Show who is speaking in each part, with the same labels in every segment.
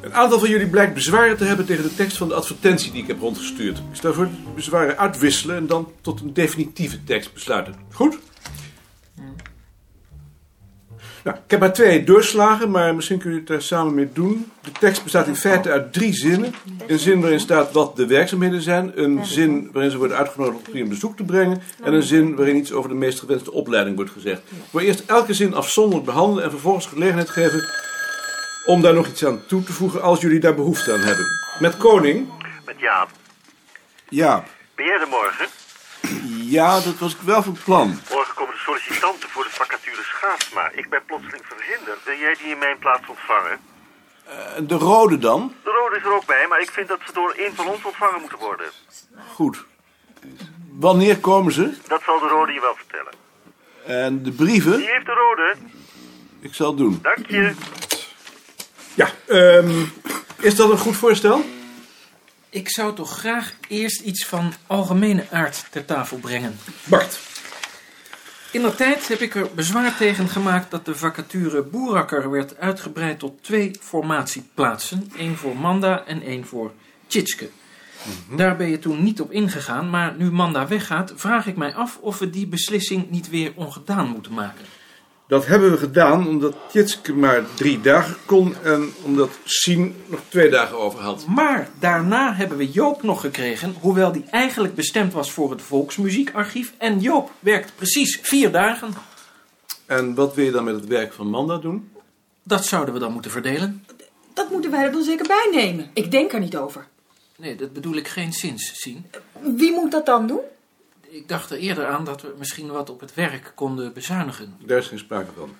Speaker 1: Een aantal van jullie blijkt bezwaren te hebben tegen de tekst van de advertentie die ik heb rondgestuurd. Ik stel voor de bezwaren uitwisselen en dan tot een definitieve tekst besluiten. Goed? Nou, ik heb maar twee doorslagen, maar misschien kunnen jullie het daar samen mee doen. De tekst bestaat in feite uit drie zinnen. Een zin waarin staat wat de werkzaamheden zijn. Een zin waarin ze worden uitgenodigd om hier een bezoek te brengen. En een zin waarin iets over de meest gewenste opleiding wordt gezegd. We eerst elke zin afzonderlijk behandelen en vervolgens gelegenheid geven om daar nog iets aan toe te voegen als jullie daar behoefte aan hebben. Met Koning.
Speaker 2: Met Jaap.
Speaker 1: Jaap.
Speaker 2: Ben jij er morgen?
Speaker 1: Ja, dat was ik wel van plan.
Speaker 2: Morgen komen de sollicitanten voor de vacature Schaatsma. Ik ben plotseling verhinderd. Wil jij die in mijn plaats ontvangen?
Speaker 1: De rode dan?
Speaker 2: De rode is er ook bij, maar ik vind dat ze door een van ons ontvangen moeten worden.
Speaker 1: Goed. Wanneer komen ze?
Speaker 2: Dat zal de rode je wel vertellen.
Speaker 1: En de brieven?
Speaker 2: Die heeft de rode.
Speaker 1: Ik zal het doen.
Speaker 2: Dank je.
Speaker 1: Ja, ehm, is dat een goed voorstel?
Speaker 3: Ik zou toch graag eerst iets van algemene aard ter tafel brengen.
Speaker 1: Bart.
Speaker 3: In dat tijd heb ik er bezwaar tegen gemaakt dat de vacature Boerakker werd uitgebreid tot twee formatieplaatsen. één voor Manda en één voor Tjitske. Daar ben je toen niet op ingegaan, maar nu Manda weggaat, vraag ik mij af of we die beslissing niet weer ongedaan moeten maken.
Speaker 1: Dat hebben we gedaan omdat Tjitske maar drie dagen kon en omdat Sien nog twee dagen over had.
Speaker 3: Maar daarna hebben we Joop nog gekregen, hoewel die eigenlijk bestemd was voor het Volksmuziekarchief. En Joop werkt precies vier dagen.
Speaker 1: En wat wil je dan met het werk van Manda doen?
Speaker 3: Dat zouden we dan moeten verdelen.
Speaker 4: Dat moeten wij er dan zeker bij nemen. Ik denk er niet over.
Speaker 3: Nee, dat bedoel ik geen zins zien.
Speaker 4: Wie moet dat dan doen?
Speaker 3: Ik dacht er eerder aan dat we misschien wat op het werk konden bezuinigen.
Speaker 1: Daar is geen sprake van.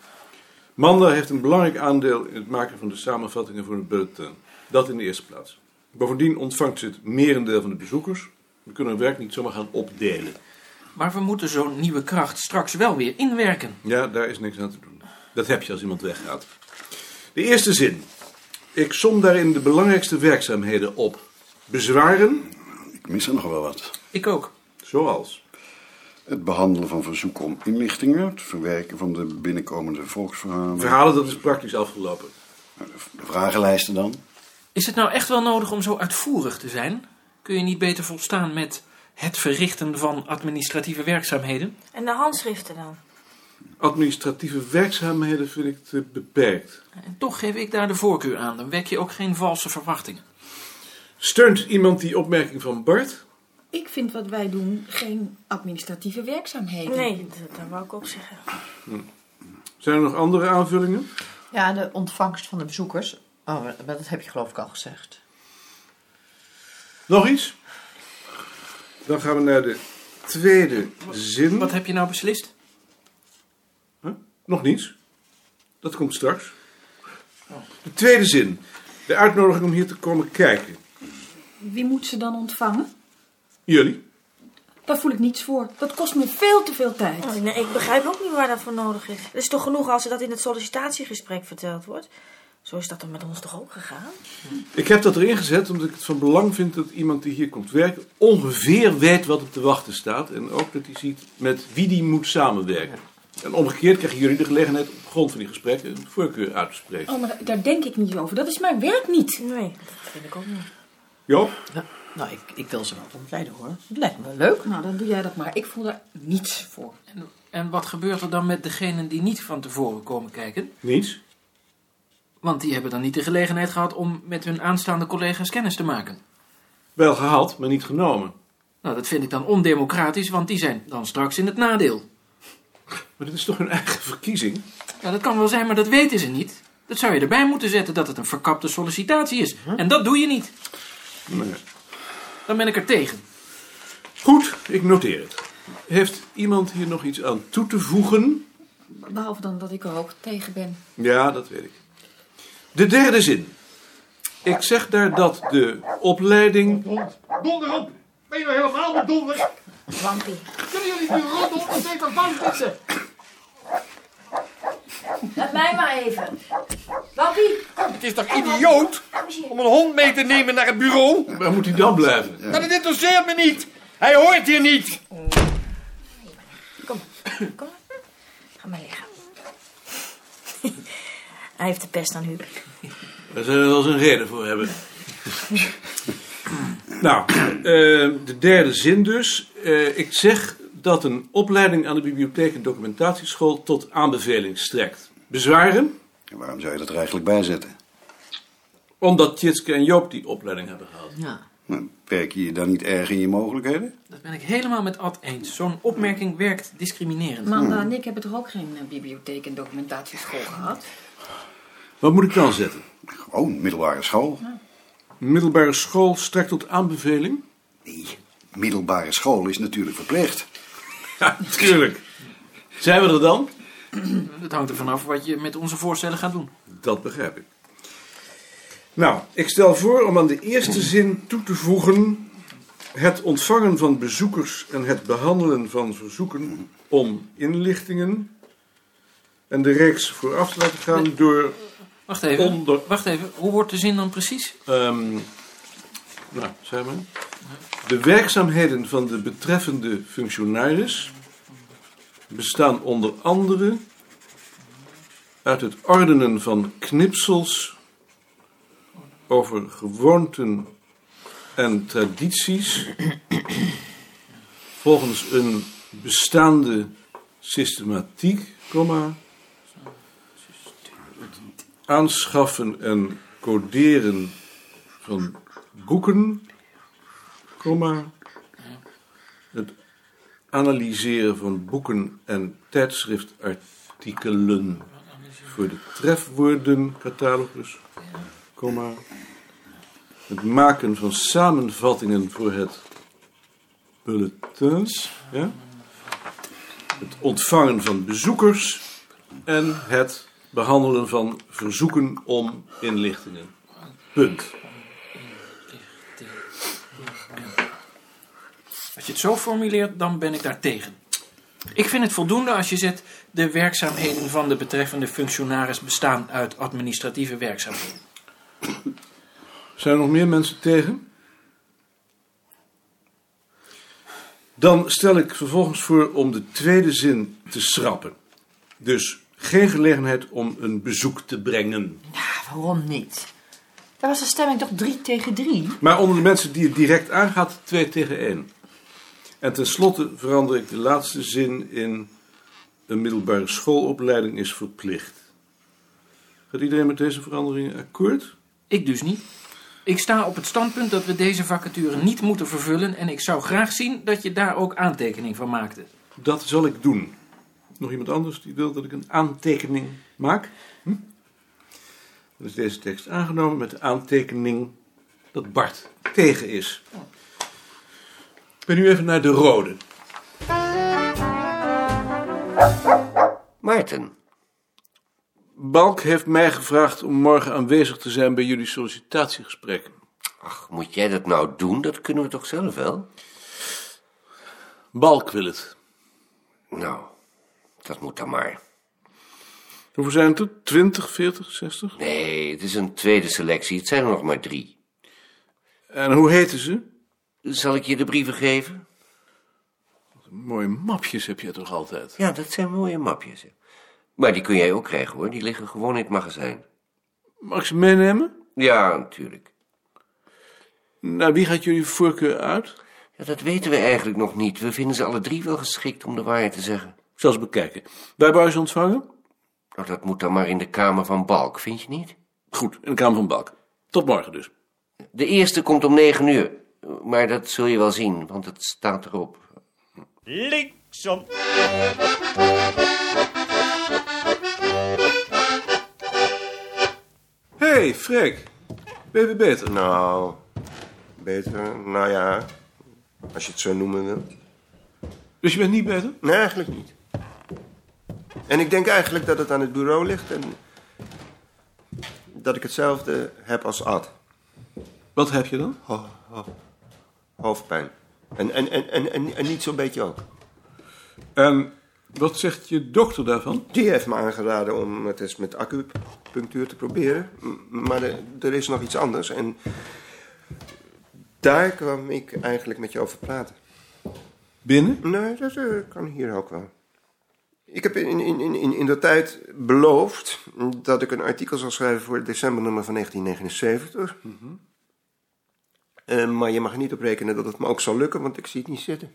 Speaker 1: Manda heeft een belangrijk aandeel in het maken van de samenvattingen voor de bulletin. Dat in de eerste plaats. Bovendien ontvangt ze het merendeel van de bezoekers. We kunnen het werk niet zomaar gaan opdelen.
Speaker 3: Maar we moeten zo'n nieuwe kracht straks wel weer inwerken.
Speaker 1: Ja, daar is niks aan te doen. Dat heb je als iemand weggaat. De eerste zin. Ik som daarin de belangrijkste werkzaamheden op. Bezwaren,
Speaker 5: Ik mis er nog wel wat.
Speaker 3: Ik ook.
Speaker 1: zoals.
Speaker 5: Het behandelen van verzoeken om inlichtingen, het verwerken van de binnenkomende volksverhalen.
Speaker 1: Verhalen, dat is praktisch afgelopen.
Speaker 5: De vragenlijsten dan.
Speaker 3: Is het nou echt wel nodig om zo uitvoerig te zijn? Kun je niet beter volstaan met het verrichten van administratieve werkzaamheden?
Speaker 6: En de handschriften dan?
Speaker 1: Administratieve werkzaamheden vind ik te beperkt.
Speaker 3: En toch geef ik daar de voorkeur aan. Dan wek je ook geen valse verwachtingen.
Speaker 1: Steunt iemand die opmerking van Bart?
Speaker 4: Ik vind wat wij doen geen administratieve werkzaamheden.
Speaker 6: Nee, dat, dat wou ik ook zeggen.
Speaker 1: Zijn er nog andere aanvullingen?
Speaker 7: Ja, de ontvangst van de bezoekers. Oh, maar dat heb je geloof ik al gezegd.
Speaker 1: Nog iets? Dan gaan we naar de tweede zin.
Speaker 3: Wat heb je nou beslist?
Speaker 1: Nog niets. Dat komt straks. De tweede zin. De uitnodiging om hier te komen kijken.
Speaker 4: Wie moet ze dan ontvangen?
Speaker 1: Jullie?
Speaker 4: Daar voel ik niets voor. Dat kost me veel te veel tijd.
Speaker 6: Oh, nee, ik begrijp ook niet waar dat voor nodig is. Het is toch genoeg als dat in het sollicitatiegesprek verteld wordt? Zo is dat dan met ons toch ook gegaan?
Speaker 1: Ik heb dat erin gezet omdat ik het van belang vind dat iemand die hier komt werken ongeveer weet wat op te wachten staat. En ook dat hij ziet met wie die moet samenwerken. En omgekeerd krijgen jullie de gelegenheid op grond van die gesprekken een voorkeur uit te spreken.
Speaker 4: Oh, maar daar- daar denk ik niet over. Dat is mijn werk niet.
Speaker 6: Nee, dat vind ik ook niet.
Speaker 1: Joop?
Speaker 7: Ja. Nou, ik, ik wil ze wel ontleiden hoor. Het lijkt me leuk.
Speaker 4: Nou, dan doe jij dat maar. Ik voel daar niets voor.
Speaker 3: En, en wat gebeurt er dan met degenen die niet van tevoren komen kijken?
Speaker 1: Niets?
Speaker 3: Want die hebben dan niet de gelegenheid gehad om met hun aanstaande collega's kennis te maken.
Speaker 1: Wel gehad, maar niet genomen.
Speaker 3: Nou, dat vind ik dan ondemocratisch, want die zijn dan straks in het nadeel.
Speaker 1: Maar dit is toch hun eigen verkiezing?
Speaker 3: Ja, dat kan wel zijn, maar dat weten ze niet. Dat zou je erbij moeten zetten dat het een verkapte sollicitatie is. En dat doe je niet.
Speaker 1: Nee.
Speaker 3: Dan ben ik er tegen.
Speaker 1: Goed, ik noteer het. Heeft iemand hier nog iets aan toe te voegen?
Speaker 4: Behalve dan dat ik er ook tegen ben.
Speaker 1: Ja, dat weet ik. De derde zin. Ik zeg daar dat de opleiding.
Speaker 8: Donder op! Ben je nou helemaal bedonderd?
Speaker 6: Wampie.
Speaker 8: Kunnen jullie nu rot op en even bang zitten?
Speaker 6: Laat mij maar even. Wampie!
Speaker 8: Het is toch idioot om een hond mee te nemen naar het bureau?
Speaker 1: Waar moet hij dan blijven?
Speaker 8: Dat interesseert me niet. Hij hoort hier niet.
Speaker 6: Kom maar. Kom maar. Ga maar liggen. Hij heeft de pest aan Huub.
Speaker 1: Daar zullen we wel eens een reden voor hebben. nou, eh, de derde zin dus. Eh, ik zeg dat een opleiding aan de bibliotheek en documentatieschool tot aanbeveling strekt. Bezwaren?
Speaker 5: En waarom zou je dat er eigenlijk bij zetten?
Speaker 1: Omdat Tjitske en Joop die opleiding hebben gehad.
Speaker 7: Ja.
Speaker 5: Nou, Perk je je dan niet erg in je mogelijkheden?
Speaker 3: Dat ben ik helemaal met Ad eens. Zo'n opmerking werkt discriminerend.
Speaker 4: Manda en ik hebben toch ook geen eh, bibliotheek en documentatieschool gehad?
Speaker 1: Wat moet ik dan zetten?
Speaker 5: Gewoon middelbare school.
Speaker 1: Middelbare school strekt tot aanbeveling?
Speaker 5: Nee, middelbare school is natuurlijk verplicht.
Speaker 1: Ja, tuurlijk. Zijn we er dan?
Speaker 3: Het hangt er vanaf wat je met onze voorstellen gaat doen.
Speaker 1: Dat begrijp ik. Nou, ik stel voor om aan de eerste zin toe te voegen. Het ontvangen van bezoekers en het behandelen van verzoeken om inlichtingen. En de reeks vooraf te laten gaan door.
Speaker 3: Wacht even.
Speaker 1: Onder-
Speaker 3: Wacht even. Hoe wordt de zin dan precies?
Speaker 1: ehm, nou, zeg maar. De werkzaamheden van de betreffende functionaris bestaan onder andere uit het ordenen van knipsels over gewoonten en tradities volgens een bestaande systematiek, comma, het aanschaffen en coderen van boeken, comma, het analyseren van boeken en tijdschriftartikelen voor de trefwoordencatalogus, comma, het maken van samenvattingen voor het bulletins, ja, het ontvangen van bezoekers en het behandelen van verzoeken om inlichtingen. Punt.
Speaker 3: Als je het zo formuleert, dan ben ik daar tegen. Ik vind het voldoende als je zet... de werkzaamheden van de betreffende functionaris bestaan uit administratieve werkzaamheden.
Speaker 1: Zijn er nog meer mensen tegen? Dan stel ik vervolgens voor om de tweede zin te schrappen. Dus geen gelegenheid om een bezoek te brengen.
Speaker 7: Ah, waarom niet? Daar was de stemming toch drie tegen drie?
Speaker 1: Maar onder de mensen die het direct aangaat, 2 tegen 1. En tenslotte verander ik de laatste zin in... een middelbare schoolopleiding is verplicht. Gaat iedereen met deze veranderingen akkoord?
Speaker 3: Ik dus niet. Ik sta op het standpunt dat we deze vacature niet moeten vervullen... en ik zou graag zien dat je daar ook aantekening van maakte.
Speaker 1: Dat zal ik doen. Nog iemand anders die wil dat ik een aantekening maak? Hm? Dan is deze tekst aangenomen met de aantekening dat Bart tegen is. Ik ben nu even naar de rode.
Speaker 8: Maarten,
Speaker 1: Balk heeft mij gevraagd om morgen aanwezig te zijn bij jullie sollicitatiegesprek.
Speaker 8: ach, moet jij dat nou doen? Dat kunnen we toch zelf wel?
Speaker 1: Balk wil het.
Speaker 8: Nou, dat moet dan maar.
Speaker 1: Hoeveel zijn het er? 20, 40, 60?
Speaker 8: Nee, het is een tweede selectie. Het zijn er nog maar drie.
Speaker 1: En hoe heten ze?
Speaker 8: Zal ik je de brieven geven?
Speaker 1: Mooie mapjes heb je toch altijd?
Speaker 8: Ja, Nou, dat zijn mooie mapjes. hè. Maar die kun jij ook krijgen hoor. Die liggen gewoon in het magazijn.
Speaker 1: Mag ik ze meenemen?
Speaker 8: Ja, natuurlijk.
Speaker 1: Naar wie gaat jullie voorkeur uit?
Speaker 8: Ja, dat weten we eigenlijk nog niet. We vinden ze alle drie wel geschikt om de waarheid te zeggen.
Speaker 1: Ik zal ze bekijken. Waar wou je ze ontvangen?
Speaker 8: Nou, dat moet dan maar in de kamer van Balk, vind je niet?
Speaker 1: Goed, in de Kamer van Balk. Tot morgen dus.
Speaker 8: De eerste komt om negen uur. Maar dat zul je wel zien, want het staat erop.
Speaker 9: Linksom.
Speaker 1: Hé, hey, Freek. Ben je weer beter?
Speaker 10: Nou, beter. Nou ja, als je het zo noemen wil.
Speaker 1: Dus je bent niet beter?
Speaker 10: Nee, eigenlijk niet. En ik denk eigenlijk dat het aan het bureau ligt en dat ik hetzelfde heb als Ad.
Speaker 1: Wat heb je dan?
Speaker 10: Ho- ho- hoofdpijn. En, en, en, en, en, en niet zo'n beetje ook.
Speaker 1: En Ehm, wat zegt je dokter daarvan?
Speaker 10: Die heeft me aangeraden om het eens met acupunctuur te proberen. M- Maar er- er is nog iets anders en daar kwam ik eigenlijk met je over praten.
Speaker 1: Binnen?
Speaker 10: Nee, dat eh, kan hier ook wel. Ik heb in, in, in, in, in de tijd beloofd dat ik een artikel zou schrijven voor het decembernummer van 1979. Eh, maar je mag er niet op rekenen dat het me ook zal lukken, want ik zie het niet zitten.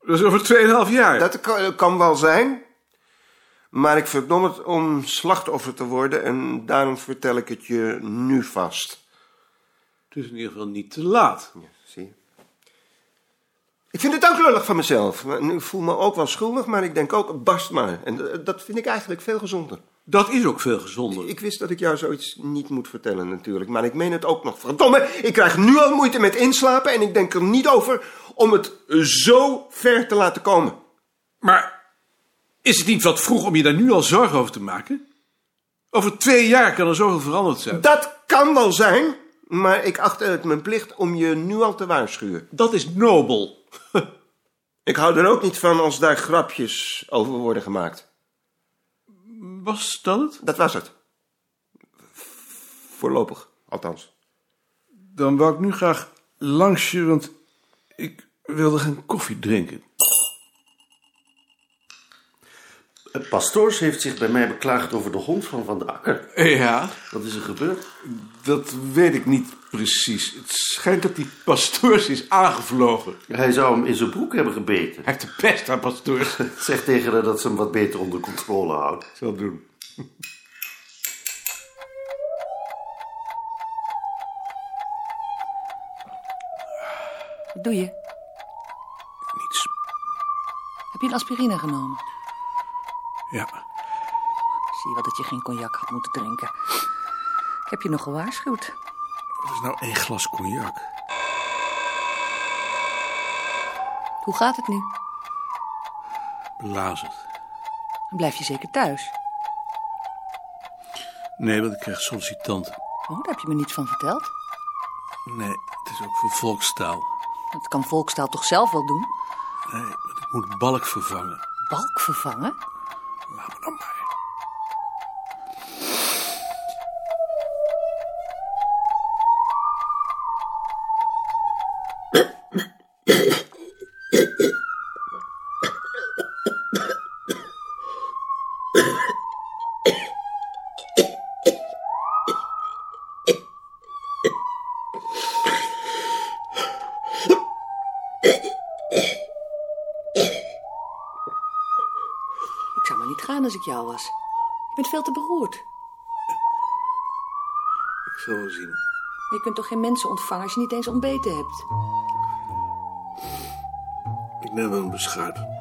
Speaker 1: Dat is over 2,5 jaar.
Speaker 10: Dat kan, kan wel zijn. Maar ik verdom het om slachtoffer te worden en daarom vertel ik het je nu vast.
Speaker 1: Het is in ieder geval niet te laat.
Speaker 10: Ja, zie je. Ik vind het ook lullig van mezelf. Maar nu voel me ook wel schuldig, maar ik denk ook, barst maar. En d- dat vind ik eigenlijk veel gezonder.
Speaker 1: Dat is ook veel gezonder.
Speaker 10: Ik wist dat ik jou zoiets niet moet vertellen natuurlijk, maar ik meen het ook nog. Verdomme, ik krijg nu al moeite met inslapen en ik denk er niet over om het zo ver te laten komen.
Speaker 1: Maar is het niet wat vroeg om je daar nu al zorgen over te maken? Over twee jaar kan er zoveel veranderd zijn.
Speaker 10: Dat kan wel zijn, maar ik acht het mijn plicht om je nu al te waarschuwen.
Speaker 1: Dat is nobel.
Speaker 10: Ik hou er ook niet van als daar grapjes over worden gemaakt.
Speaker 1: Was dat het?
Speaker 10: Dat was het. Voorlopig, althans.
Speaker 1: Dan wou ik nu graag langs je, want ik wilde gaan koffie drinken.
Speaker 11: Pastoors heeft zich bij mij beklaagd over de hond van Van de Akker.
Speaker 1: Ja,
Speaker 11: Wat is er gebeurd?
Speaker 1: dat weet ik niet precies. Het schijnt dat die pastoors is aangevlogen.
Speaker 11: Hij zou hem in zijn broek hebben gebeten.
Speaker 1: Hij heeft de pest aan pastoors.
Speaker 11: Zeg tegen haar dat ze hem wat beter onder controle houdt.
Speaker 1: Zal doen.
Speaker 12: Wat doe je?
Speaker 1: Niets.
Speaker 12: Heb je een aspirine genomen?
Speaker 1: Ja.
Speaker 12: Zie je wel dat je geen cognac had moeten drinken. Ik heb je nog gewaarschuwd.
Speaker 1: Wat is nou één glas cognac?
Speaker 12: Hoe gaat het nu?
Speaker 1: Belazerd.
Speaker 12: Dan blijf je zeker thuis.
Speaker 1: Nee, want ik krijg sollicitanten.
Speaker 12: Oh, daar heb je me niet van verteld.
Speaker 1: Nee, het is ook voor volkstaal.
Speaker 12: Dat kan Volkstaal toch zelf wel doen?
Speaker 1: Nee, want ik moet balk vervangen.
Speaker 12: Balk vervangen?
Speaker 1: Laat me dan maar.
Speaker 12: Ik zou maar niet gaan als ik jou was. Je bent veel te beroerd.
Speaker 1: Ik zal wel zien.
Speaker 12: Je kunt toch geen mensen ontvangen als je niet eens ontbeten hebt?
Speaker 1: Ik neem wel een beschuit.